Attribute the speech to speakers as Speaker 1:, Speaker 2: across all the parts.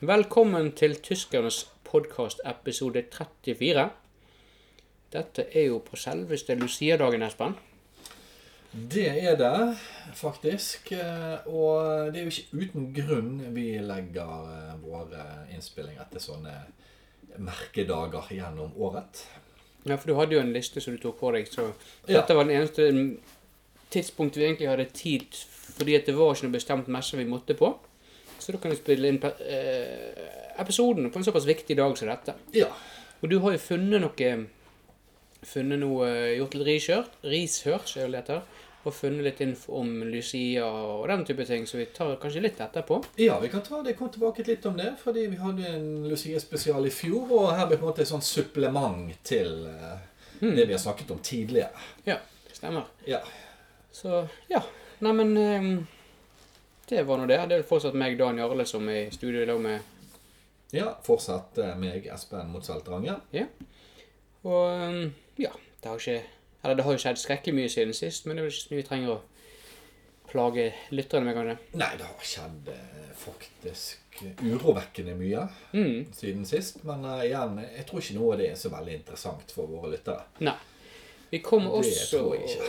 Speaker 1: Velkommen til Tyskernes podkast episode 34. Dette er jo på selveste Lucia-dagen, Espen.
Speaker 2: Det er det, faktisk. Eh, Og det er jo ikke uten grunn vi legger eh, våre innspillinger til sånne merkedager gjennom året.
Speaker 1: Ja, for du hadde jo en liste som du tok på deg, så
Speaker 2: Ja.
Speaker 1: dette var den eneste tidspunktet vi egentlig hadde tid fordi at det var ikke noe bestemt messe vi måtte på. Så da kan vi spille inn pe- eh, episoden på en såpass viktig dag som dette.
Speaker 2: Ja.
Speaker 1: Og du har jo funnet noe Funnet noe eh, Gjort litt research, research er det det heter, og funnet litt info om Lucia og den type ting, så vi tar kanskje litt etterpå.
Speaker 2: ja, vi kan ta det kom tilbake litt om det, fordi vi hadde en Lucia-spesial i fjor, og her blir på en måte et sånt supplement til eh, det vi har snakket om tidligere.
Speaker 1: Ja, det stemmer.
Speaker 2: Ja.
Speaker 1: Så ja. Neimen eh, Det var nå det. Det er vel fortsatt meg, Dan Jarle, som er i studio i dag med
Speaker 2: ja fortsatt eh, meg, Espen Motsaltranger.
Speaker 1: Ja. Og eh, ja, det har ikke Eller det har jo skjedd skrekkelig mye siden sist, men det er vel ikke så mye vi trenger å plage lytterne med, kanskje.
Speaker 2: Nei, det har skjedd eh, faktisk urovekkende mye
Speaker 1: Mm.
Speaker 2: siden sist. Men eh, igjen, jeg tror ikke noe av det er så veldig interessant for våre lyttere.
Speaker 1: Nei. Vi kommer
Speaker 2: Det
Speaker 1: også
Speaker 2: tror jeg ikke.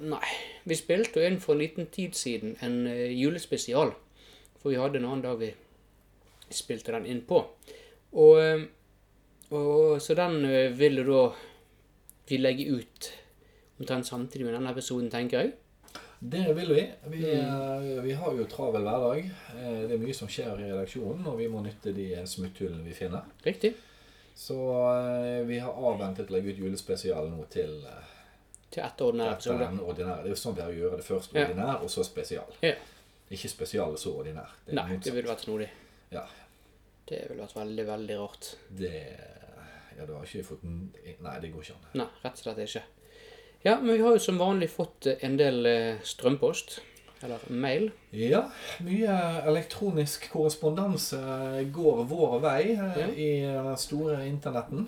Speaker 1: Nei. Vi spilte jo inn for en liten tid siden en eh, julespesial. For vi hadde en annen dag vi spilte den inn på. Og, eh, og Så den eh, vil jo da vi legge ut omtrent samtidig med denne episoden, tenker jeg.
Speaker 2: Det vil vi. Vi, eh, vi har jo travel hverdag. Eh, Det er mye som skjer i redaksjonen, og vi må nytte de eh, smutthullene vi finner.
Speaker 1: Riktig.
Speaker 2: Så eh, vi har avventet å legge ut julespesialen nå til eh,
Speaker 1: Til etterordnede
Speaker 2: etter
Speaker 1: episode.
Speaker 2: den ordinære. Det er jo sånn vi har å gjøre det først
Speaker 1: Ja.
Speaker 2: ordinær, og så spesial.
Speaker 1: Ja.
Speaker 2: Ikke spesial og så ordinær. Det er
Speaker 1: Nei, det ville vært snodig.
Speaker 2: motsatt. Ja.
Speaker 1: Det ville vært veldig, veldig rart.
Speaker 2: Det Ja, du har ikke fått Nei, det går ikke an.
Speaker 1: Nei, rett og slett ikke. Ja, men vi har jo som vanlig fått eh, en del eh, strømpost. Eller mail.
Speaker 2: Ja, mye elektronisk korrespondanse går vår vei eh, i den store internetten.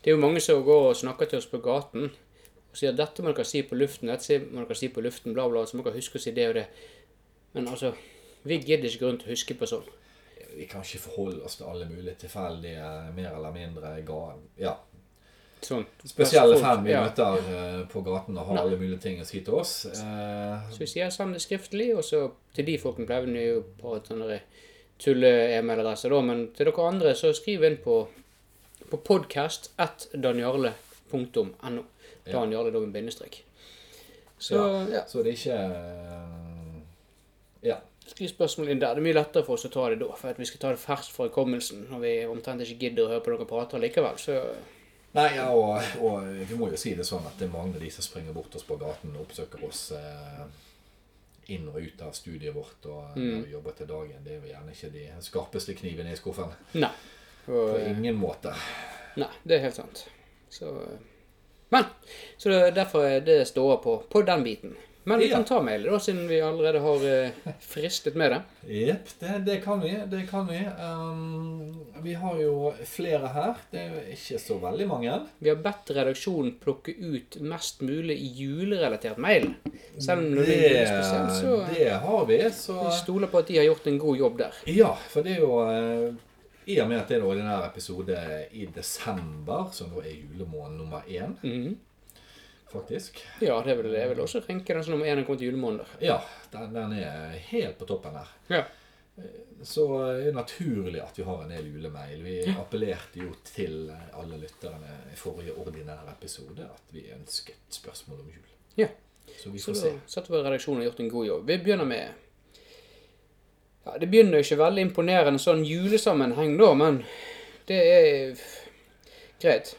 Speaker 1: Det er jo mange som går og snakker til oss på gaten og sier at dette må dere si på luften, dette må dere si på luften, bla, bla, så må dere huske å si det og det. Men altså, vi gidder ikke gå rundt og huske på sånn.
Speaker 2: Vi kan ikke forholde oss til alle mulige tilfeldige, mer eller mindre ga... Ja.
Speaker 1: sånn.
Speaker 2: Spesielle
Speaker 1: Folk,
Speaker 2: fan vi
Speaker 1: ja.
Speaker 2: møter eh, på gaten og har alle mulige ting å si til oss. Eh,
Speaker 1: Så vi sier sånn det skriftlig, og så til de folkene pleier vi jo på et sånn derre tulle-e-mailadresse da, men til dere andre så skriv inn på, på podcast at danjarle.no. Danjarle, da med bindestrek. Så, ja.
Speaker 2: Så det er ikke eh, Ja.
Speaker 1: Skriv spørsmål inn der. Det er mye lettere for oss å ta det da, for at vi skal ta det ferskt fra hukommelsen når vi omtrent ikke gidder å høre på dere prate likevel. Så
Speaker 2: Nei, ja, og, og vi må jo si det sånn at det er mange av de som springer bort oss på gaten og oppsøker oss eh, inn og ut av studiet vårt og eh,
Speaker 1: Mm.
Speaker 2: når vi jobber til dagen. Det er jo gjerne ikke de skarpeste knivene i skuffen.
Speaker 1: nei. Og, eh,
Speaker 2: På ingen måte.
Speaker 1: nei, det er helt sant. Så Men! Så det, derfor er det ståa på, på den biten. Men vi
Speaker 2: Ja.
Speaker 1: kan ta mailen, da, siden vi allerede har eh, fristet med det.
Speaker 2: Jepp, det, det kan vi. Det kan vi. Um, vi har jo flere her. Det er jo ikke så veldig mange.
Speaker 1: Vi har bedt redaksjonen plukke ut mest mulig julerelatert mail. Selv om det er spesielt, så
Speaker 2: det har vi, så
Speaker 1: vi stoler på at de har gjort en god jobb der.
Speaker 2: Ja, for det er jo eh, I og med at det er en ordinær episode i desember, som da er julemåned nummer én,
Speaker 1: Mhm.
Speaker 2: faktisk
Speaker 1: Ja, det er vel det. Jeg vil også renke den som nummer én når det kommer til julemåneder.
Speaker 2: Ja, den, den er helt på toppen her.
Speaker 1: Ja.
Speaker 2: Så er det naturlig at vi har en del julemail. Vi appellerte jo til alle lytterne i forrige ordinære episode at vi ønsket spørsmål om jul.
Speaker 1: ja.
Speaker 2: Så vi
Speaker 1: Så
Speaker 2: får
Speaker 1: da
Speaker 2: se.
Speaker 1: satt vi i redaksjonen og gjort en god jobb. Vi begynner med ja, Det begynner jo ikke veldig imponerende sånn julesammenheng, da, men det er f- greit.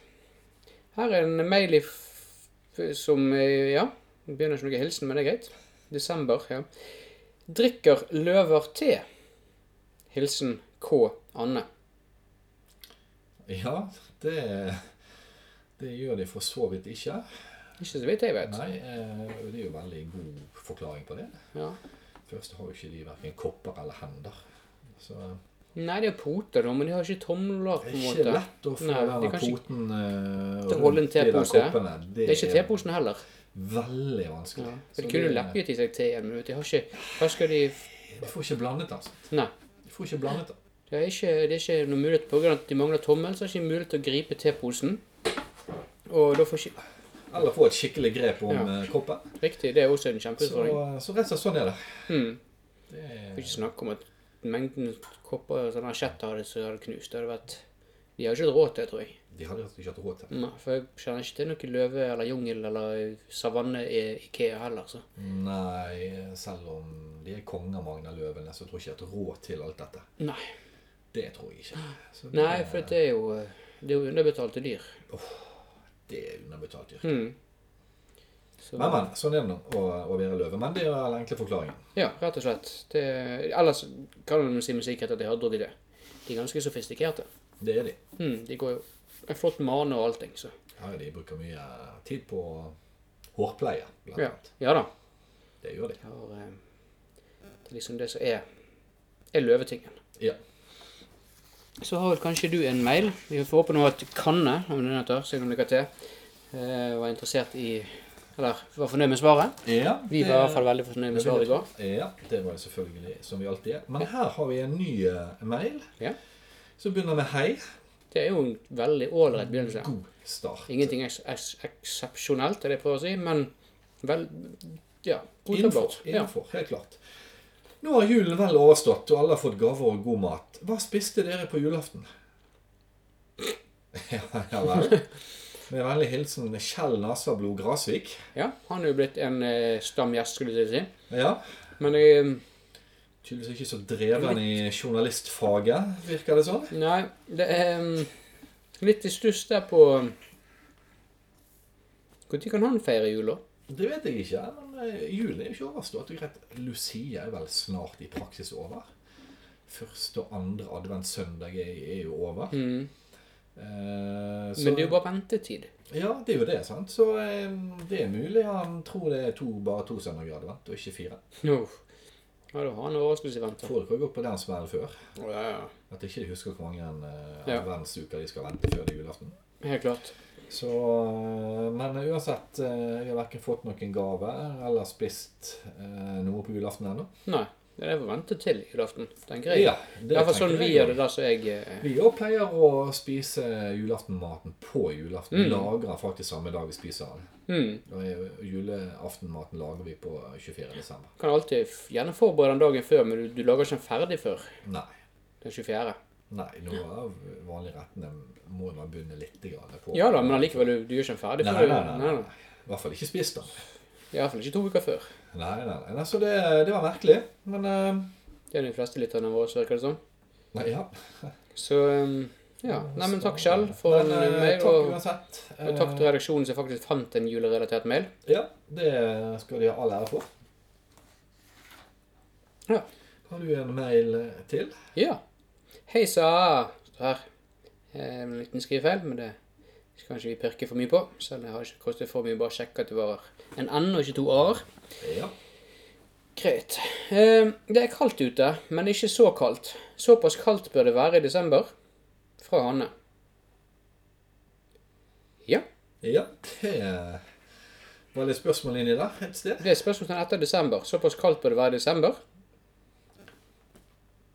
Speaker 1: Her er en mail i f- som eh, Ja, det begynner ikke noe hilsen, men det er greit. Desember, ja. Drikker løver te. Hilsen K. Anne.
Speaker 2: Ja, det, det gjør de for så vidt ikke.
Speaker 1: Ikke så vidt jeg vet.
Speaker 2: Nei, eh, det er jo veldig god forklaring på det.
Speaker 1: Ja.
Speaker 2: Først har jo ikke de hverken kopper eller hender. Så det
Speaker 1: Nei, det er poter, da, men de har ikke tomler, på
Speaker 2: er
Speaker 1: en
Speaker 2: ikke
Speaker 1: måte.
Speaker 2: lett å få
Speaker 1: Nei, de
Speaker 2: denne
Speaker 1: kan ikke-
Speaker 2: poten eh,
Speaker 1: Til å holde en
Speaker 2: rundt i de der
Speaker 1: tepose.
Speaker 2: koppene.
Speaker 1: Det er ikke teposen heller.
Speaker 2: Veldig vanskelig.
Speaker 1: For
Speaker 2: Så
Speaker 1: de kunne
Speaker 2: det-
Speaker 1: lappet i seg teen, men vet du, de har ikke Hva skal de
Speaker 2: Du får ikke blandet den. sant?
Speaker 1: Nei.
Speaker 2: Du får ikke blandet den.
Speaker 1: Det er ikke, det er ikke noe mulighet på grunn av at de mangler tommel, så er det ikke mulighet til å gripe til posen. Og da får ikke
Speaker 2: Eller få et skikkelig grep om
Speaker 1: Ja.
Speaker 2: eh, kroppen.
Speaker 1: Riktig, det er også en
Speaker 2: Så,
Speaker 1: kjempeutfordring.
Speaker 2: så rett og slett sånn er det.
Speaker 1: Mm.
Speaker 2: det
Speaker 1: Får
Speaker 2: er,
Speaker 1: ikke snakke om at mengden kopper og sånne asjetter hadde, som hadde knust. Det hadde vært De har ikke råd til det, tror jeg.
Speaker 2: de hadde rett og slett ikke hatt råd til det.
Speaker 1: Nei, for jeg kjenner ikke til noe løve eller jungel eller savanne i Ikea heller, så.
Speaker 2: Nei, selv om de er konger, Magna Løvene, så tror jeg ikke at råd til alt dette.
Speaker 1: Nei.
Speaker 2: Det tror jeg ikke. Så det,
Speaker 1: Nei, for det er jo eh, Det er jo underbetalte dyr.
Speaker 2: det er underbetalt yrke.
Speaker 1: Mm. Så,
Speaker 2: Men, men. Sånn er det nå å, å være løve. Men det er den enkle forklaringen.
Speaker 1: Ja, rett og slett. Det, ellers kan man si med sikkerhet at de har drukket det. De er ganske sofistikerte.
Speaker 2: Det er de.
Speaker 1: Mm, de går jo en flott mane og allting, så.
Speaker 2: Ja, de bruker mye tid på hårpleie, blant
Speaker 1: Ja,
Speaker 2: annet.
Speaker 1: ja da.
Speaker 2: Det gjør de.
Speaker 1: De har, eh, det er liksom det som er, er løvetingen.
Speaker 2: Ja.
Speaker 1: Så har vel kanskje du en mail. Vi får håpe nå at Kanne, om den heter, siden hun lykker til, eh, var interessert i Eller var fornøyd med svaret.
Speaker 2: ja
Speaker 1: Vi var i hvert fall veldig fornøyd med svaret i går.
Speaker 2: Ja, det var det selvfølgelig, som vi alltid er. Men her har vi en ny eh, mail.
Speaker 1: Ja.
Speaker 2: Så begynner med hei.
Speaker 1: Det er jo en veldig ålreit begynnelse.
Speaker 2: God start.
Speaker 1: Ingenting eks eks eksepsjonelt, er det jeg prøver å si, men vel Ja.
Speaker 2: Innenfor,
Speaker 1: Godtagbart. Ja.
Speaker 2: innenfor, helt klart. Nå har julen vel overstått, og alle har fått gaver og god mat. Hva spiste dere på julaften? ja, ja vel. Med vennlig hilsen Kjell Nasablod Grasvik.
Speaker 1: ja. Han er jo blitt en eh, stamgjest, skulle jeg si.
Speaker 2: Ja,
Speaker 1: Men eh, jeg
Speaker 2: tydeligvis ikke så dreven i journalistfaget, virker det sånn.
Speaker 1: Nei, det er mm, litt i stuss der på Når kan han feire jul, da?
Speaker 2: Det vet jeg ikke, men eh, julen er jo ikke overstått. Det er greit. Lucia er vel snart i praksis over. Første og andre adventssøndag er, er jo over.
Speaker 1: Mm.
Speaker 2: Eh, så-
Speaker 1: Men det er jo bare ventetid.
Speaker 2: Ja, det er jo det, sant. Så eh, det er mulig han tror det er to, bare to søndager advent, og ikke fire.
Speaker 1: Uff. Ja, da har han en overraskelse i vente.
Speaker 2: Folk har gått på den smellen før.
Speaker 1: Å, ja, ja.
Speaker 2: At ikke de husker hvor mange eh,
Speaker 1: Ja.
Speaker 2: adventsuker de skal vente før det er julaften.
Speaker 1: Helt klart.
Speaker 2: Så eh, Men uansett, eh, jeg har verken fått noen gave eller spist eh, noe på julaften ennå.
Speaker 1: Nei, det er for å vente til julaften, tenker jeg.
Speaker 2: Ja,
Speaker 1: det er i hvert fall
Speaker 2: tenker
Speaker 1: sånn vi
Speaker 2: jeg
Speaker 1: gjør
Speaker 2: også.
Speaker 1: det der, så jeg eh,
Speaker 2: Vi òg pleier å spise julaftenmaten på julaften.
Speaker 1: Mm.
Speaker 2: Lager den faktisk samme dag vi spiser den.
Speaker 1: mm,
Speaker 2: Og eh, Julaftenmaten lager vi på 24. desember.
Speaker 1: kan alltid f- gjerne forberede den dagen før, men du, du lager ikke den ferdig før
Speaker 2: Nei.
Speaker 1: den 24.
Speaker 2: Nei, noe av vanlige rettene må man begynne litt grann på.
Speaker 1: Ja da, men allikevel, du, du gjør ikke den ferdig
Speaker 2: Nei,
Speaker 1: før
Speaker 2: nei,
Speaker 1: du-
Speaker 2: nei, nei.
Speaker 1: nei.
Speaker 2: I hvert fall ikke spist, da.
Speaker 1: I hvert fall ikke to uker før.
Speaker 2: Nei, nei, nei. nei så det, det var merkelig. Men eh,
Speaker 1: Det er de fleste lytterne våre, så virker det sånn.
Speaker 2: Nei, ja.
Speaker 1: Så eh, ja. Nei, men takk, Kjell, for
Speaker 2: Mm, Men,
Speaker 1: en
Speaker 2: eh,
Speaker 1: mail.
Speaker 2: Takk
Speaker 1: Og,
Speaker 2: uansett.
Speaker 1: og takk til redaksjonen som faktisk fant en julerelatert mail.
Speaker 2: Eh, Ja, det skal de ha all ære for.
Speaker 1: Ja.
Speaker 2: Har du en mail eh, til?
Speaker 1: Ja. Hei sa! står Her. Eh, En liten skrivefeil, men det skal ikke vi pirke for mye på. Selv om det har ikke kostet for mye, bare sjekke at det var en N og ikke to A-er.
Speaker 2: Ja.
Speaker 1: Greit. Eh, Det er kaldt ute, men ikke så kaldt. Såpass kaldt bør det være i desember. Fra Hanne. Ja.
Speaker 2: Ja, det var litt spørsmål inni der et sted.
Speaker 1: Det er spørsmålstegn etter desember. Såpass kaldt bør det være i desember.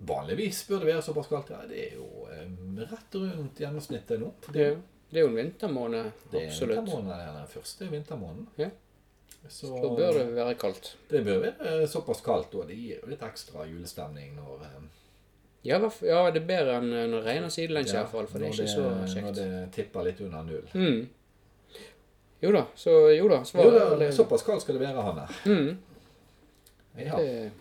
Speaker 2: Vanligvis bør det være såpass kaldt. Ja, det er jo eh, rett rundt gjennomsnittet nå. for
Speaker 1: Det, det er jo en vintermåned.
Speaker 2: Det er
Speaker 1: Absolutt.
Speaker 2: vintermåneden, det er den første vintermåneden.
Speaker 1: Ja.
Speaker 2: Så,
Speaker 1: Da bør det være kaldt.
Speaker 2: det bør være eh, såpass kaldt, og det gir jo litt ekstra julestemning når eh,
Speaker 1: Ja, hva f- ja, det er bedre enn eh, når det regner sidelengs i hvert fall, for det er
Speaker 2: når
Speaker 1: ikke så
Speaker 2: Når
Speaker 1: kjekt.
Speaker 2: det tipper litt under null.
Speaker 1: Mm. Jo da, så jo da.
Speaker 2: Jo,
Speaker 1: Svaret
Speaker 2: det,
Speaker 1: det-
Speaker 2: såpass kaldt skal det være, Hanne.
Speaker 1: Mm,
Speaker 2: Ja.
Speaker 1: det-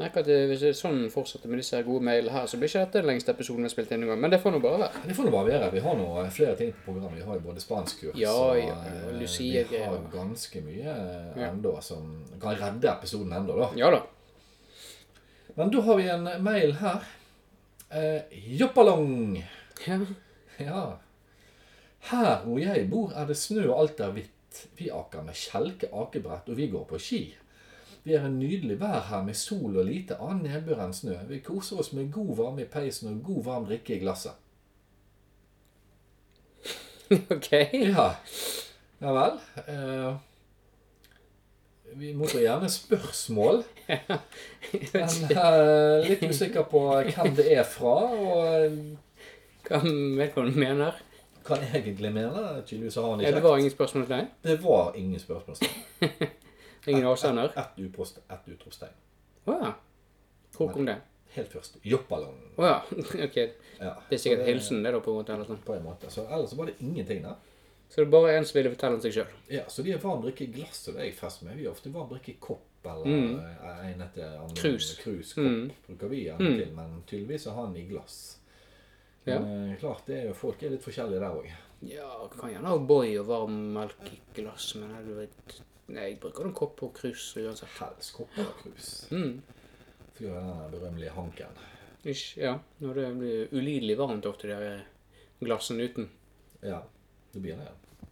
Speaker 1: Merker at det, hvis det er sånn fortsetter med disse her gode mailene her, så blir ikke dette den lengste episoden vi har spilt inn engang. Men det får nå bare være.
Speaker 2: Det får nå bare være. Vi har nå eh, flere ting på programmet. Vi har jo både spanskkurs
Speaker 1: Ja,
Speaker 2: og
Speaker 1: ja, ja,
Speaker 2: eh,
Speaker 1: Lucia-greier.
Speaker 2: Vi har ganske mye eh,
Speaker 1: Ja.
Speaker 2: enda som kan redde episoden enda, da.
Speaker 1: Ja da.
Speaker 2: Men da har vi en mail her. Eh, Joppalong!
Speaker 1: Ja.
Speaker 2: Ja. Her hvor jeg bor, er det snø og alt er hvitt. Vi aker med kjelke, akebrett, og vi går på ski. Vi har en nydelig vær her med sol og lite annen nedbør enn snø. Vi koser oss med god varme i peisen og god varm drikke i glasset.
Speaker 1: OK.
Speaker 2: Ja, ja vel. Eh, vi mottar gjerne spørsmål. Men eh, litt usikker på eh, hvem det er fra, og eh,
Speaker 1: Hva vedkommende mener.
Speaker 2: hva han egentlig mener. Tydeligvis har han
Speaker 1: Ja, det
Speaker 2: ikke
Speaker 1: var ingen spørsmål til deg?
Speaker 2: Det var ingen spørsmålstegn.
Speaker 1: Ingen avsender?
Speaker 2: Ett uprost- ett utropstegn.
Speaker 1: Å ja. Hvor kom det?
Speaker 2: Helt først. Joppaland.
Speaker 1: Å ja. Ok. Det
Speaker 2: Ja.
Speaker 1: er sikkert hilsen, det, da, på en måte. eller sånn.
Speaker 2: På en måte. Så ellers var det ingenting der.
Speaker 1: Så det er bare en som ville fortelle om seg sjøl.
Speaker 2: Ja, så de er vant til å drikke i glass, og det er jeg fest med. Vi er ofte vant til å drikke i kopp eller eh, en etter annen.
Speaker 1: Mm. Krus. Mm.
Speaker 2: Kruskopp bruker vi gjerne til, men tydeligvis er han i glass.
Speaker 1: Ja.
Speaker 2: Men eh, klart, det er jo, folk er litt forskjellige der òg.
Speaker 1: Ja, kan gjerne ha O'boy og varm melk i glass, men jeg vet Nei, jeg bruker en kopp og krus uansett.
Speaker 2: Helst kopp eller krus.
Speaker 1: Mm.
Speaker 2: For det er den berømmelige hanken.
Speaker 1: Ish, ja. Når det blir ulidelig varmt ofte, de der glassene uten.
Speaker 2: Ja, det blir det. ja.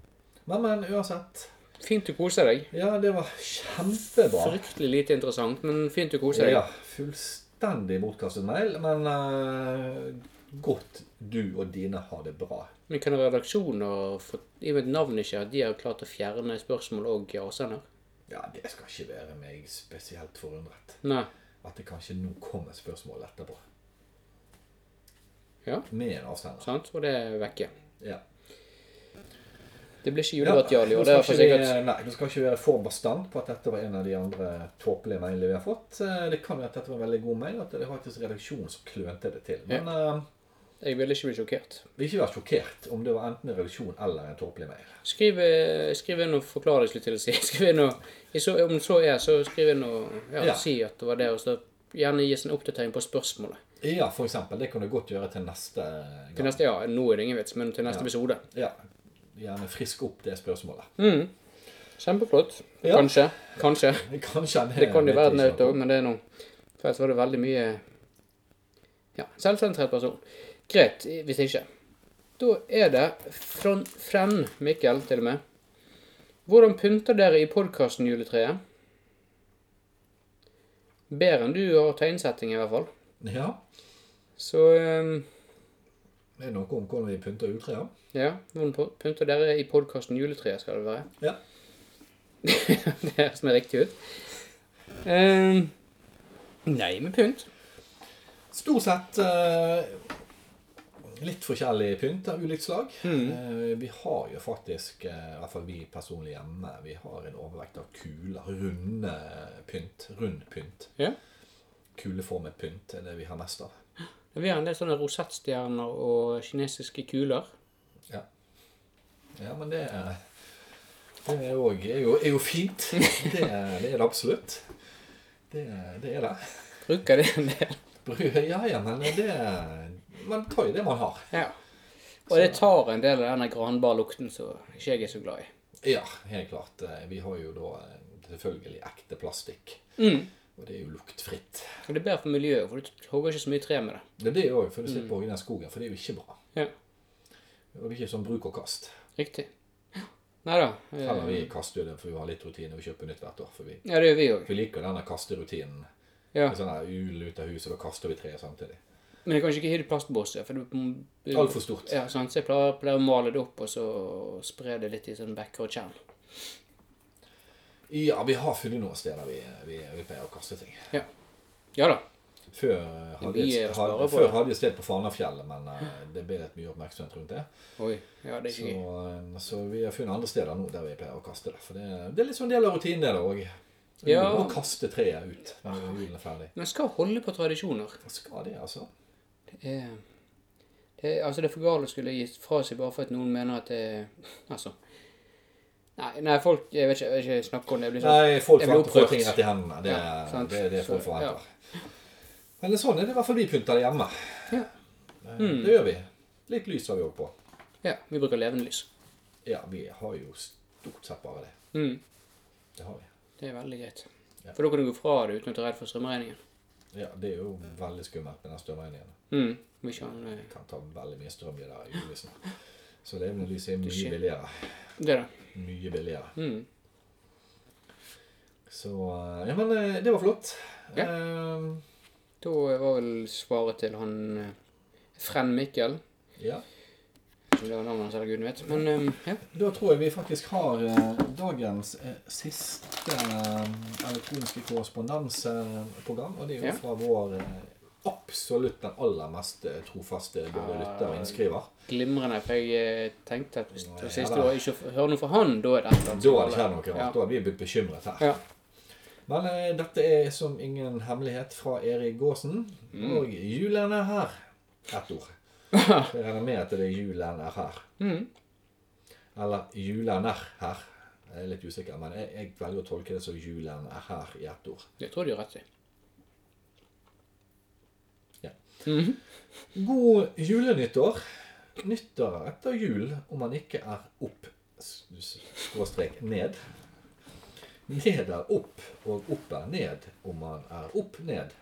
Speaker 2: Men, men uansett.
Speaker 1: Fint å kose deg.
Speaker 2: Ja, det var kjempebra.
Speaker 1: Fryktelig lite interessant, men fint å kose deg.
Speaker 2: Ja, fullstendig bortkastet mail, men eh, godt du og dine har det bra.
Speaker 1: Men kan redaksjoner, få- i og med at navnet ikke er, de har klart å fjerne spørsmål og avsender?
Speaker 2: Ja, det skal ikke være meg spesielt forundret.
Speaker 1: Nei.
Speaker 2: At det kanskje nå kommer spørsmål etterpå.
Speaker 1: Ja.
Speaker 2: Med en avsender.
Speaker 1: Sant? Og det er vekke.
Speaker 2: Ja.
Speaker 1: Det blir ikke julegratial i
Speaker 2: nå
Speaker 1: år, det
Speaker 2: skal
Speaker 1: er for
Speaker 2: ikke
Speaker 1: sikkert.
Speaker 2: vi- Nei, du skal ikke være for bastant på at dette var en av de andre tåpelige mailene vi har fått. Eh, Det kan være at dette var en veldig god mail, at det var faktisk redaksjonen som klønte det til. Men eh,
Speaker 1: Jeg vil ikke bli sjokkert.
Speaker 2: vi vil ikke være sjokkert om det var enten en redaksjon eller en tåpelig mail.
Speaker 1: Skriv, eh, skriv inn og forklar deg, skulle jeg til å si. Skriv inn og, i så, om så er, så skriv inn og ja,
Speaker 2: Ja.
Speaker 1: si at det var det. Og så gjerne gis en oppdatering på spørsmålet.
Speaker 2: Ja, for eksempel. Det kan du godt gjøre til neste
Speaker 1: Til
Speaker 2: gang.
Speaker 1: neste, ja, nå er det ingen vits, men til neste episode.
Speaker 2: Ja. Gjerne frisk opp det spørsmålet.
Speaker 1: Kjempeflott.
Speaker 2: Ja.
Speaker 1: Kanskje. Kanskje.
Speaker 2: Kanskje en-
Speaker 1: Det kan jo
Speaker 2: vet
Speaker 1: være
Speaker 2: jeg
Speaker 1: den
Speaker 2: ikke.
Speaker 1: ute òg, men det er noe For ellers var det veldig mye Ja, selvsentrert person. Greit, hvis ikke. Da er det fra Frenn Mikkel, til og med. Hvordan pynter dere i podkasten Juletreet? Bedre enn du har tegnsetting, i hvert fall.
Speaker 2: Ja.
Speaker 1: Så ehm,
Speaker 2: Det er noe om hvordan vi pynter juletreet.
Speaker 1: ja. Hvordan py- pynter dere i podkasten Juletreet, skal det være.
Speaker 2: Ja.
Speaker 1: det høres meg riktig ut. Ehm, nei, med pynt.
Speaker 2: Stort sett eh, litt forskjellig pynt av ulikt slag.
Speaker 1: Mm.
Speaker 2: Eh, vi har jo faktisk, eh, i hvert fall vi personlig hjemme, vi har en overvekt av kuler. Runde pynt. Rund pynt.
Speaker 1: Ja.
Speaker 2: Kuleformet pynt er det vi har mest av.
Speaker 1: Vi har en del sånne rosettstjerner og kinesiske kuler.
Speaker 2: Ja, ja men det er det er, jo- er, jo, er jo fint. Det er det, er det absolutt. Det, er- det er det.
Speaker 1: Bruker det en del.
Speaker 2: Bru- Ja, ja, men det er- Man tar jo det man har.
Speaker 1: Ja. Og det tar en del av denne granbarlukten som ikke jeg er så glad i.
Speaker 2: Ja, helt klart. Eh, Vi har jo da eh, selvfølgelig ekte plastikk.
Speaker 1: Mm.
Speaker 2: Og det er jo luktfritt.
Speaker 1: Og det er bedre for miljøet, for du hogger ikke så mye tre med det.
Speaker 2: Det er det òg, for du slipper å hogge ned skogen, for det er jo ikke bra.
Speaker 1: Mm. Ja,
Speaker 2: Og det er ikke sånn bruk og kast.
Speaker 1: Riktig. Nei da. eh,
Speaker 2: Heller vi kaster jo det, for vi har litt rutine og vi kjøper nytt hvert år. For vi,
Speaker 1: Ja, det gjør vi òg.
Speaker 2: vi liker denne kasterutinen.
Speaker 1: Ja.
Speaker 2: Med Sånn her ul ut av huset, og da kaster vi treet samtidig.
Speaker 1: Men jeg kan ikke hive det i plastbåset. Altså- For det
Speaker 2: Altfor stort.
Speaker 1: Ja, sant? Så jeg pleier, pleier å male det opp og så spre det litt i sånn bekker og tjern.
Speaker 2: Ja, vi har funnet noen steder vi, vi, vi pleier å kaste ting.
Speaker 1: Ja. ja da.
Speaker 2: Før eh, hadde
Speaker 1: blir
Speaker 2: vi
Speaker 1: å
Speaker 2: et,
Speaker 1: spare
Speaker 2: hadde,
Speaker 1: på,
Speaker 2: før
Speaker 1: ja.
Speaker 2: hadde vi et sted på Fanafjellet, men eh, det ble litt mye oppmerksomhet rundt det.
Speaker 1: Oi. Ja, det er
Speaker 2: Så,
Speaker 1: ikke gøy.
Speaker 2: eh, så vi har funnet andre steder nå der vi pleier å kaste det. For det, det er litt sånn del av rutinen det da òg.
Speaker 1: Ja.
Speaker 2: Å kaste treet ut når julen er ferdig.
Speaker 1: Men skal holde på tradisjoner.
Speaker 2: Hva skal det, altså?
Speaker 1: Eh, det, altså det er for galt å skulle gi fra seg bare for at noen mener at det Altså. Nei, nei folk Jeg vet ikke, jeg vil ikke snakke om det. Jeg blir sånn.
Speaker 2: Nei, folk
Speaker 1: Jeg blir
Speaker 2: forventer å få
Speaker 1: opprørt.
Speaker 2: ting rett i hendene. Det,
Speaker 1: Ja, sant.
Speaker 2: det er det folk
Speaker 1: Så,
Speaker 2: forventer. Men sånn er det i hvert fall vi pynter det hjemme.
Speaker 1: Ja. Mm.
Speaker 2: Eh, Det gjør vi. Litt lys har vi òg på.
Speaker 1: ja, vi bruker levende lys.
Speaker 2: Ja, vi har jo stort sett bare det.
Speaker 1: Mm,
Speaker 2: Det har vi.
Speaker 1: det er veldig greit.
Speaker 2: Ja.
Speaker 1: For da kan du gå fra det uten å være redd for strømregningen.
Speaker 2: Ja, Det er jo veldig skummelt med den strømregningen.
Speaker 1: Mm, vi kan, eh,
Speaker 2: Det kan ta veldig mye strøm, de der julelysene. Så levende lys er mye
Speaker 1: skjer.
Speaker 2: billigere.
Speaker 1: det da.
Speaker 2: Mye billigere.
Speaker 1: Mm.
Speaker 2: Så eh, Ja, men eh, det var flott.
Speaker 1: Ja.
Speaker 2: Eh,
Speaker 1: Da var vel svaret til han eh, Frenn Mikkel.
Speaker 2: ja.
Speaker 1: om det var navnet hans, eller guden vet. Men ehm, ja.
Speaker 2: Da tror jeg vi faktisk har eh, dagens eh, siste eh, elektroniske korrespondanseprogram. Og det er jo
Speaker 1: Ja.
Speaker 2: fra vår eh, absolutt den aller mest eh, trofaste både
Speaker 1: Ja.
Speaker 2: lytter og innskriver.
Speaker 1: Glimrende, for jeg eh, tenkte at hvis
Speaker 2: Nå er
Speaker 1: det
Speaker 2: jeg
Speaker 1: siste
Speaker 2: der.
Speaker 1: året ikke hører noe fra han, da er det et eller annet
Speaker 2: Da hadde det
Speaker 1: som
Speaker 2: skjedd noe rart. Da hadde vi blitt bekymret her.
Speaker 1: Ja.
Speaker 2: Men eh, dette er som ingen hemmelighet fra Erik Gåsen. Og julen er her. Ett ord. Jeg regner med at det er julen er her.
Speaker 1: Mhm.
Speaker 2: Eller julen er her. Jeg er litt usikker, men jeg, jeg velger å tolke det som julen er her i ett ord.
Speaker 1: Det tror jeg du har rett i.
Speaker 2: Ja.
Speaker 1: Mhm.
Speaker 2: God julenyttår. Nyttår etter jul om man ikke er opp s- s- skråstrek ned. Ned er opp, og opp er ned om man er opp ned.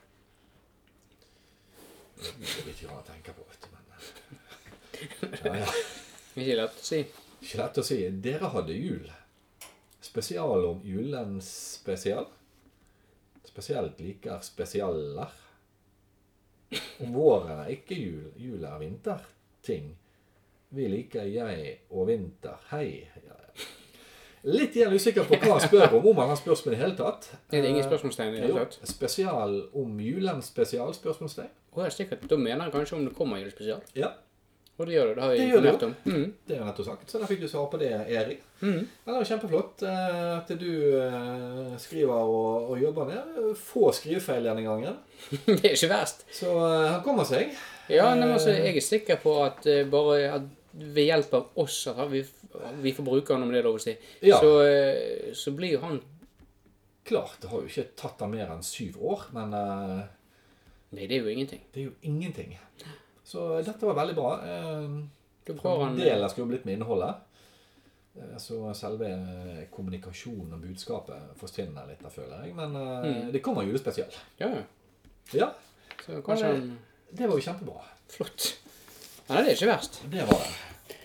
Speaker 2: Det er litt grann å tenke på, vet du, men ja, ja.
Speaker 1: Ikke lett å si.
Speaker 2: Ikke lett å si. Dere hadde jul. Spesial om julen spesial. Spesielt liker spesialer. Om våren er ikke jul. Jul er vinterting. Vi liker jeg og vinter. Hei. Ja. Litt igjen usikker på hva han spør om, om han har spørsmål i det hele tatt.
Speaker 1: Er det ingen spørsmålstegn i det hele
Speaker 2: Jo,
Speaker 1: tatt?
Speaker 2: Spesial om julen spesial? Spørsmålstegn?
Speaker 1: Å, ja, sikkert. Da mener han kanskje om det kommer julespesial.
Speaker 2: Ja.
Speaker 1: Og det gjør det. Det har vi
Speaker 2: Det gjør det
Speaker 1: informert om. Mhm.
Speaker 2: Det er jo nettopp sagt, så da fikk du svar på det, Erik.
Speaker 1: Mhm.
Speaker 2: Ja, det er kjempeflott eh, at du eh, skriver og, og jobber ned. Få skrivefeil denne gangen.
Speaker 1: det er ikke verst.
Speaker 2: Så eh, han kommer seg.
Speaker 1: Ja, nei, men altså, jeg er sikker på at eh, bare at ved hjelp av oss, at vi, vi får bruke han om det er lov å si,
Speaker 2: Ja.
Speaker 1: så, eh, så blir jo han
Speaker 2: Klart, det har jo ikke tatt ham mer enn syv år, men eh,
Speaker 1: Nei, det er jo ingenting.
Speaker 2: det er jo ingenting. Så dette var veldig bra. Eh,
Speaker 1: Da får han
Speaker 2: Fremdeles skulle blitt med innholdet. Eh, Så selve eh, kommunikasjonen og budskapet forsvinner litt, da føler jeg. Men eh, det kommer julespesial.
Speaker 1: Ja, ja.
Speaker 2: Ja,
Speaker 1: Så kanskje han
Speaker 2: det var jo kjempebra.
Speaker 1: Flott. Ja, Nei, det er ikke verst.
Speaker 2: Det var det.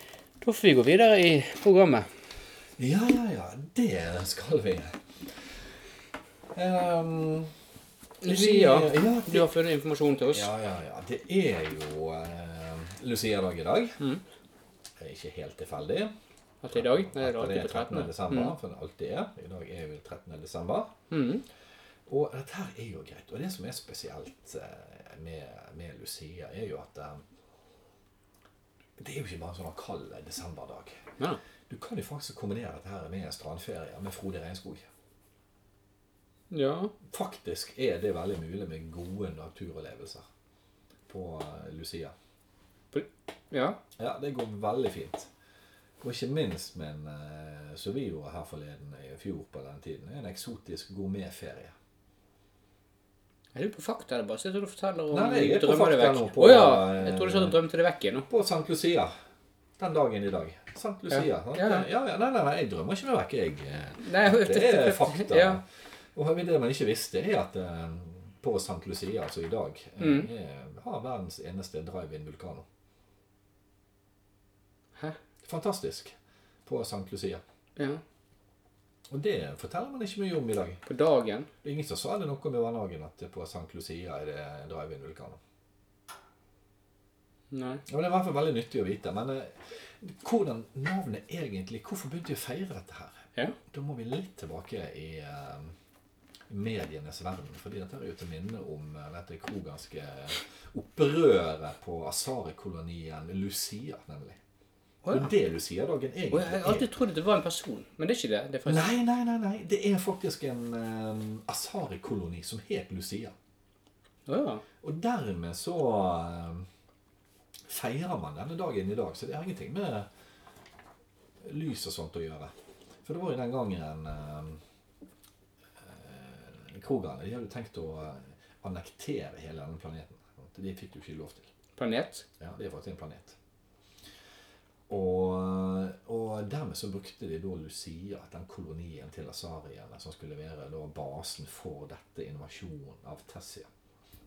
Speaker 1: Da får vi gå videre i programmet.
Speaker 2: Ja, ja, ja. Det skal vi. Ehm,
Speaker 1: Lucia,
Speaker 2: vi- Ja,
Speaker 1: du
Speaker 2: det,
Speaker 1: har funnet informasjon til oss.
Speaker 2: ja, ja, ja. Det er jo eh, Lucia-dag i dag. Det er ikke helt tilfeldig.
Speaker 1: At Mm. det er i dag. Nei, det er
Speaker 2: At
Speaker 1: alltid på Mm. 13.
Speaker 2: desember, for det alltid er. I dag er vi 13. desember.
Speaker 1: Mhm.
Speaker 2: Og dette her er jo greit. Og det som er spesielt eh, med, med Lucia, er jo at eh, det er jo ikke bare en sånn kald desemberdag.
Speaker 1: Ja.
Speaker 2: Du kan jo faktisk kombinere dette her med en strandferie med Frode Regnskog.
Speaker 1: ja.
Speaker 2: Faktisk er det veldig mulig med gode naturopplevelser på eh, Lucia.
Speaker 1: Ja.
Speaker 2: Ja, det går veldig fint. Og ikke minst med en eh, som vi gjorde her forleden i fjor på den tiden, en eksotisk gourmetferie.
Speaker 1: Er du på fakta, eller bare sitter du og forteller og
Speaker 2: Nei, nei, jeg er på
Speaker 1: drømmer det
Speaker 2: fakta
Speaker 1: vekk?
Speaker 2: nå på-
Speaker 1: Å ja! Jeg trodde du sa du drømte det vekk igjen nå.
Speaker 2: På St. Lucia. Den dagen i dag. St. Lucia.
Speaker 1: Ja.
Speaker 2: sant?
Speaker 1: Ja, ja.
Speaker 2: ja, ja. Nei, nei, nei, jeg drømmer ikke meg vekk, jeg. eh.
Speaker 1: Nei,
Speaker 2: Det er fakta.
Speaker 1: Ja.
Speaker 2: Og det man ikke visste, er at eh, på St. Lucia, altså i dag, eh,
Speaker 1: Mm.
Speaker 2: er- har verdens eneste drive-in-vulkano.
Speaker 1: Hæ?
Speaker 2: Fantastisk. På St. Lucia.
Speaker 1: ja.
Speaker 2: Og det forteller man ikke mye om i dag.
Speaker 1: På dagen.
Speaker 2: Det er ingen som sa det noe med vannhagen at på St. Lucia er det drive-in-vulkano.
Speaker 1: Nei.
Speaker 2: Ja, men Det er i hvert fall veldig nyttig å vite. Men eh, hvordan navnet egentlig Hvorfor begynte vi å feire dette her?
Speaker 1: Ja.
Speaker 2: Da må vi litt tilbake i eh, medienes verden. fordi dette er jo til minne om eh, dette kroganske opprøret på Asare-kolonien Lucia, nemlig.
Speaker 1: Å ja.
Speaker 2: Og det er
Speaker 1: Å,
Speaker 2: Lucia-dagen
Speaker 1: jeg har
Speaker 2: egentlig er.
Speaker 1: alltid trodd at det var en person, men det er ikke det. Det er faktisk
Speaker 2: Nei, nei, nei, nei. Det er faktisk en eh, Asare-koloni som het Lucia.
Speaker 1: Å ja.
Speaker 2: Og dermed så eh, feirer man denne dagen i dag, så det har ingenting med lys og sånt å gjøre. For det var jo den gangen eh, eh, Krogane de hadde tenkt å eh, annektere hele denne planeten. Det fikk du ikke lov til.
Speaker 1: Planet.
Speaker 2: Ja, det er faktisk en planet. Og, og dermed så brukte de da Lucia, den kolonien til azariene, som skulle være da basen for dette invasjonen av Tessia.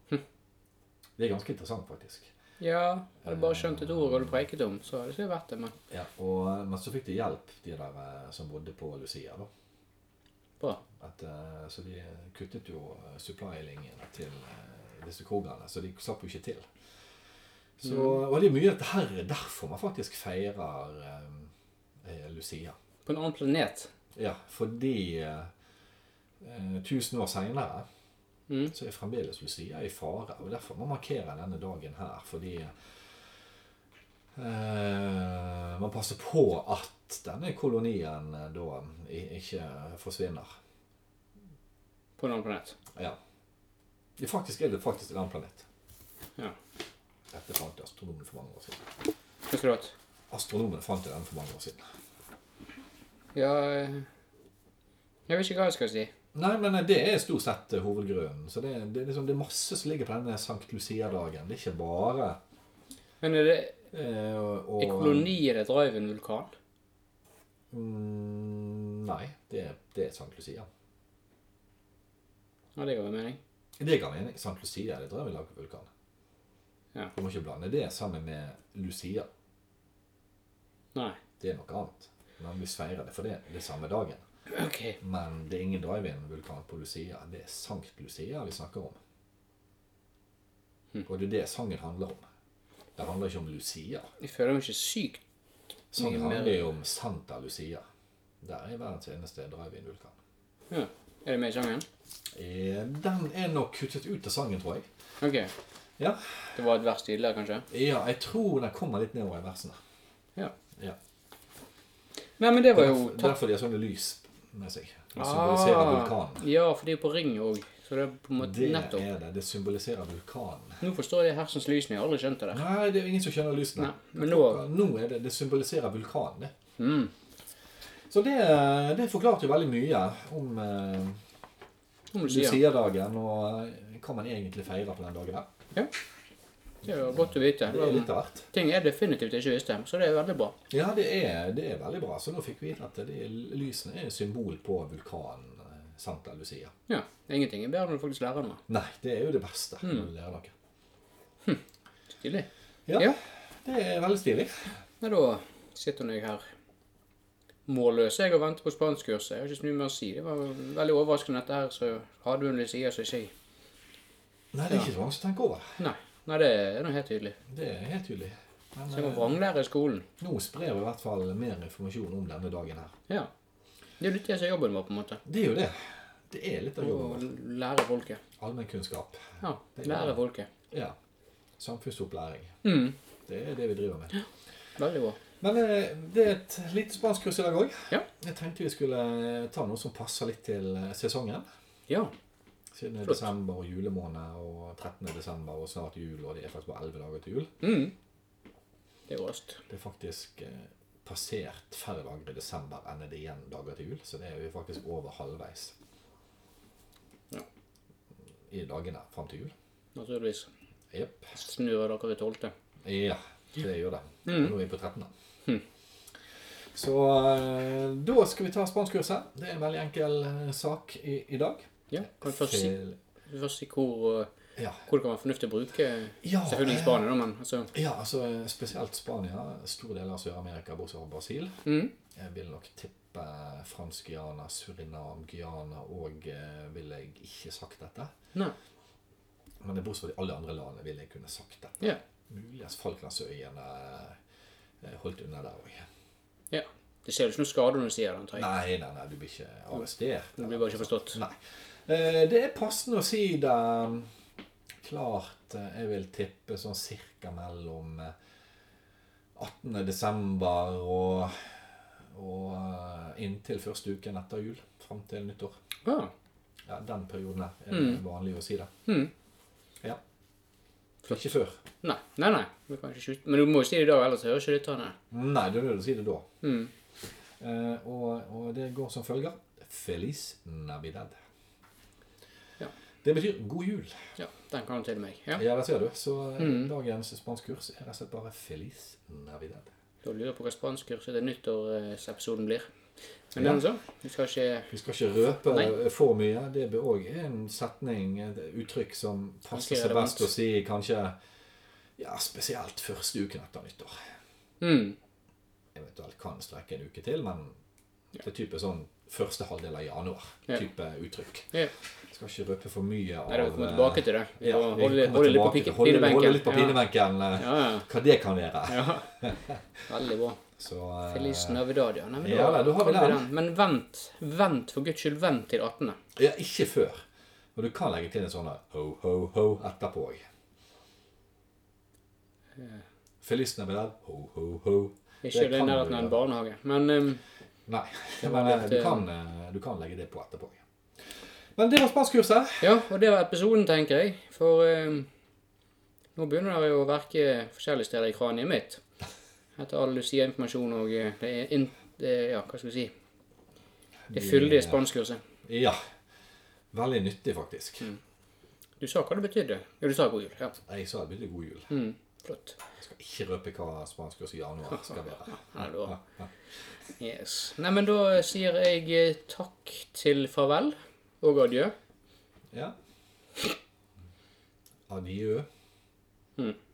Speaker 2: Det er ganske interessant, faktisk.
Speaker 1: Ja. Hadde bare skjønt et ord og du preiket om, så hadde det ikke vært det, men
Speaker 2: Ja, og, men så fikk de hjelp, de der eh, som bodde på Lucia. da.
Speaker 1: bra.
Speaker 2: At, eh, så de kuttet jo eh, supply-linjene til eh, disse krogene, så de slapp jo ikke til. Så, og det er mye av dette her er derfor man faktisk feirer eh, eh, Lucia.
Speaker 1: På en annen planet.
Speaker 2: Ja, fordi eh, eh, tusen år seinere
Speaker 1: Mm.
Speaker 2: så er fremdeles Lucia i fare. Og derfor må man markere denne dagen her, fordi eh, man passer på at denne kolonien eh, da i- ikke forsvinner.
Speaker 1: På en annen planet.
Speaker 2: Ja. Det faktisk er det faktisk en annen planet.
Speaker 1: Ja.
Speaker 2: Dette fant astronomen for mange år siden.
Speaker 1: Hva skulle du hatt?
Speaker 2: Astronomen fant den for mange år siden.
Speaker 1: Ja eh, Jeg vet ikke hva jeg skal si.
Speaker 2: Nei, men det er stort sett eh, hovedgrunnen. Så det, det, er liksom, det er masse som ligger på denne Sankt Lucia-dagen. Det er ikke bare
Speaker 1: Men er det
Speaker 2: eh, og,
Speaker 1: i koloni er det drive en vulkan?
Speaker 2: Mm, nei, det, er- det er Sankt Lucia.
Speaker 1: Ja, det ga jo mening.
Speaker 2: Det ga mening. Sankt Lucia er det drevet lag av vulkan.
Speaker 1: Ja.
Speaker 2: Du må ikke blande det sammen med Lucia.
Speaker 1: Nei.
Speaker 2: Det er noe annet. Men vi feirer det for det, det er samme dagen.
Speaker 1: OK.
Speaker 2: Men det er ingen drive-in-vulkan på Lucia. Det er Sankt Lucia vi snakker om.
Speaker 1: Hm.
Speaker 2: Og det er det sangen handler om. Det handler ikke om Lucia.
Speaker 1: Jeg føler meg ikke syk.
Speaker 2: Sangen
Speaker 1: Mye mer-
Speaker 2: handler jo om Santa Lucia. Der er verdens eneste drive-in-vulkan.
Speaker 1: Ja. Er det med i sangen?
Speaker 2: Eh, Den er nok kuttet ut av sangen, tror jeg.
Speaker 1: OK.
Speaker 2: Ja,
Speaker 1: Det var et vers tidligere, kanskje?
Speaker 2: ja jeg tror den kommer litt nedover i versene.
Speaker 1: Ja.
Speaker 2: Ja.
Speaker 1: Nei, men det var jo
Speaker 2: Derfor, derfor de har sånne lys med seg. Det symboliserer
Speaker 1: Ah,
Speaker 2: vulkanen.
Speaker 1: ja, for det er jo på ring òg. Så det er på en måte
Speaker 2: Det
Speaker 1: nettopp.
Speaker 2: er det. Det symboliserer vulkanen.
Speaker 1: Nå forstår jeg hersens lysene. Jeg har aldri skjønt det der.
Speaker 2: Nei, det er jo ingen som kjenner lysene.
Speaker 1: Nei, men nå-
Speaker 2: nå er det, det symboliserer vulkanen, det. Så det, det forklarte jo veldig mye om eh,
Speaker 1: Om du sier.
Speaker 2: Lucia-dagen og hva man egentlig feirer på den dagen. der.
Speaker 1: Ja. Det er jo godt å vite.
Speaker 2: Det er litt av hvert.
Speaker 1: Ting jeg definitivt ikke visste, så det er veldig bra.
Speaker 2: Ja, det er, det er veldig bra. Så nå fikk vi vite at det, lysene er symbol på vulkanen eh, Santa Lucia.
Speaker 1: Ja, Ingenting er bedre når du faktisk lærer noe.
Speaker 2: Nei, det er jo det beste når du lærer noe.
Speaker 1: Stilig.
Speaker 2: Ja.
Speaker 1: Ja.
Speaker 2: Det er veldig stilig.
Speaker 1: Nei, da sitter nå jeg her målløs jeg og venter på spanskkurset. Jeg har ikke så mye mer å si. Det var veldig overraskende dette her, så har du en Lucia, så ikke jeg.
Speaker 2: Nei, det er ikke så mange som tenker over det.
Speaker 1: Nei. Nei, det er nå helt tydelig.
Speaker 2: Det er helt tydelig. Men
Speaker 1: Så jeg må
Speaker 2: eh,
Speaker 1: vranglære skolen.
Speaker 2: nå sprer vi i hvert fall mer informasjon om denne dagen her.
Speaker 1: Ja. Det er jo litt det som er jobben vår, på en måte.
Speaker 2: Det er jo det. Det er litt av jobben
Speaker 1: Å
Speaker 2: vår.
Speaker 1: lære folket.
Speaker 2: Allmennkunnskap.
Speaker 1: Ja. Lære folket.
Speaker 2: Ja. Samfunnsopplæring.
Speaker 1: Mm.
Speaker 2: Det er det vi driver med.
Speaker 1: Veldig bra.
Speaker 2: Men eh, det er et lite spanskkurs i dag òg.
Speaker 1: Ja.
Speaker 2: Jeg tenkte vi skulle eh, ta noe som passer litt til eh, sesongen.
Speaker 1: Ja.
Speaker 2: Siden det er
Speaker 1: Flott.
Speaker 2: desember og julemåned og 13. desember og snart jul, og det er faktisk bare 11 dager til jul.
Speaker 1: Mm. Det er råst.
Speaker 2: Det er faktisk eh, passert færre dager i desember enn det er igjen dager til jul, så det er vi faktisk over halvveis
Speaker 1: Ja.
Speaker 2: i dagene fram til jul.
Speaker 1: Naturligvis.
Speaker 2: Jepp.
Speaker 1: Snur dere ved tolvte.
Speaker 2: Ja, det gjør det.
Speaker 1: Mm.
Speaker 2: Nå er vi på 13.
Speaker 1: Hm.
Speaker 2: Så eh, da skal vi ta spanskkurset. Det er en veldig enkel eh, sak i, i dag.
Speaker 1: Ja. Kan vi først si,
Speaker 2: Fel-
Speaker 1: først si hvor, eh,
Speaker 2: Ja.
Speaker 1: hvor det kan være fornuftig å bruke eh,
Speaker 2: Ja,
Speaker 1: Selvfølgelig i Spania, da, men altså
Speaker 2: ja, altså eh, spesielt Spania. Store deler av Sør-Amerika, bortsett fra Brasil.
Speaker 1: mm.
Speaker 2: Jeg vil nok tippe fransk Guyana, Surinam, Guyana og eh, ville jeg ikke sagt dette.
Speaker 1: Nei.
Speaker 2: Men det er bortsett fra de alle andre landene ville jeg kunne sagt dette.
Speaker 1: Ja.
Speaker 2: Muligens Falklandsøyene eh, holdt unna der òg.
Speaker 1: ja. Det ser jo ikke noe skade når du sier det, antar jeg.
Speaker 2: Nei, nei, nei, du blir ikke arrestert.
Speaker 1: Du blir bare ikke forstått.
Speaker 2: Nei. Eh, Det er passende å si det klart eh, Jeg vil tippe sånn cirka mellom eh, 18. desember og, og eh, inntil første uken etter jul. Fram til nyttår.
Speaker 1: Ja.
Speaker 2: Ja, den perioden her er det vanlig å si det.
Speaker 1: Mm.
Speaker 2: Ja. Ikke før.
Speaker 1: Nei, nei. nei. Vi kan ikke skjute. Men du må jo si det i dag, ellers hører ikke lytterne.
Speaker 2: Nei, du er nødt til å si det da.
Speaker 1: Mm.
Speaker 2: Eh, og, og det går som følger. Feliz Navidad.
Speaker 1: Ja.
Speaker 2: Det betyr god jul.
Speaker 1: Ja, den kan du til meg. Ja.
Speaker 2: Ja, det ser du. Så eh,
Speaker 1: Mm.
Speaker 2: dagens spanskkurs er rett og slett bare Feliz Navidad.
Speaker 1: Da lurer jeg på hva spanskkurset til nyttårsepisoden blir. Men den så. Vi skal ikke
Speaker 2: Vi skal ikke røpe
Speaker 1: Nei.
Speaker 2: for mye. Det er òg en setning, et uttrykk, som passer
Speaker 1: Ganske
Speaker 2: seg best å
Speaker 1: relevant.
Speaker 2: si kanskje ja, spesielt første uken etter nyttår.
Speaker 1: mm.
Speaker 2: Eventuelt kan strekke en uke til, men det er type sånn første halvdel av januar.
Speaker 1: Ja.
Speaker 2: Type uttrykk.
Speaker 1: Ja.
Speaker 2: Skal ikke røpe for mye av
Speaker 1: Nei, da vi kommer
Speaker 2: eh,
Speaker 1: tilbake til det. Vi
Speaker 2: Ja,
Speaker 1: må
Speaker 2: vi
Speaker 1: holde,
Speaker 2: kommer
Speaker 1: holde litt på
Speaker 2: tilbake
Speaker 1: pik-
Speaker 2: til- holde- Holde litt på
Speaker 1: pinebenken.
Speaker 2: pinebenken. eh,
Speaker 1: Ja. ja,
Speaker 2: Hva det kan være.
Speaker 1: ja. Veldig bra.
Speaker 2: Så eh,
Speaker 1: Feliz Navidad, ja. Nei, men
Speaker 2: Ja, da har vi
Speaker 1: kan
Speaker 2: den.
Speaker 1: Men vent, vent for guds skyld, vent til 18.
Speaker 2: Ja, ikke før. Og du kan legge til en sånn ho-ho-ho etterpå òg. Feliz Navidad, ho-ho-ho.
Speaker 1: Ikke det i nærheten av en barnehage. Men ehm,
Speaker 2: Nei,
Speaker 1: Det var
Speaker 2: men eh,
Speaker 1: litt,
Speaker 2: du
Speaker 1: eh,
Speaker 2: kan, eh, du kan legge det på etterpå. Men det var spanskkurset.
Speaker 1: ja, og det var episoden, tenker jeg. For ehm, nå begynner det jo å verke forskjellige steder i kraniet mitt. Etter all Lucia-informasjon og eh, det er in, det, er- ja, hva skal vi si Det fyldige spanskkurset.
Speaker 2: eh, Ja. Veldig nyttig, faktisk.
Speaker 1: Mm. Du sa hva det betydde? Ja, du sa god jul. Ja.
Speaker 2: Jeg sa veldig god jul.
Speaker 1: Mm, flott.
Speaker 2: Jeg skal ikke røpe hva spanskkurs i januar skal være.
Speaker 1: Ja, da. Yes. Nei, men da sier jeg eh, takk til farvel og adjø.
Speaker 2: Ja. Adjø.
Speaker 1: Mm.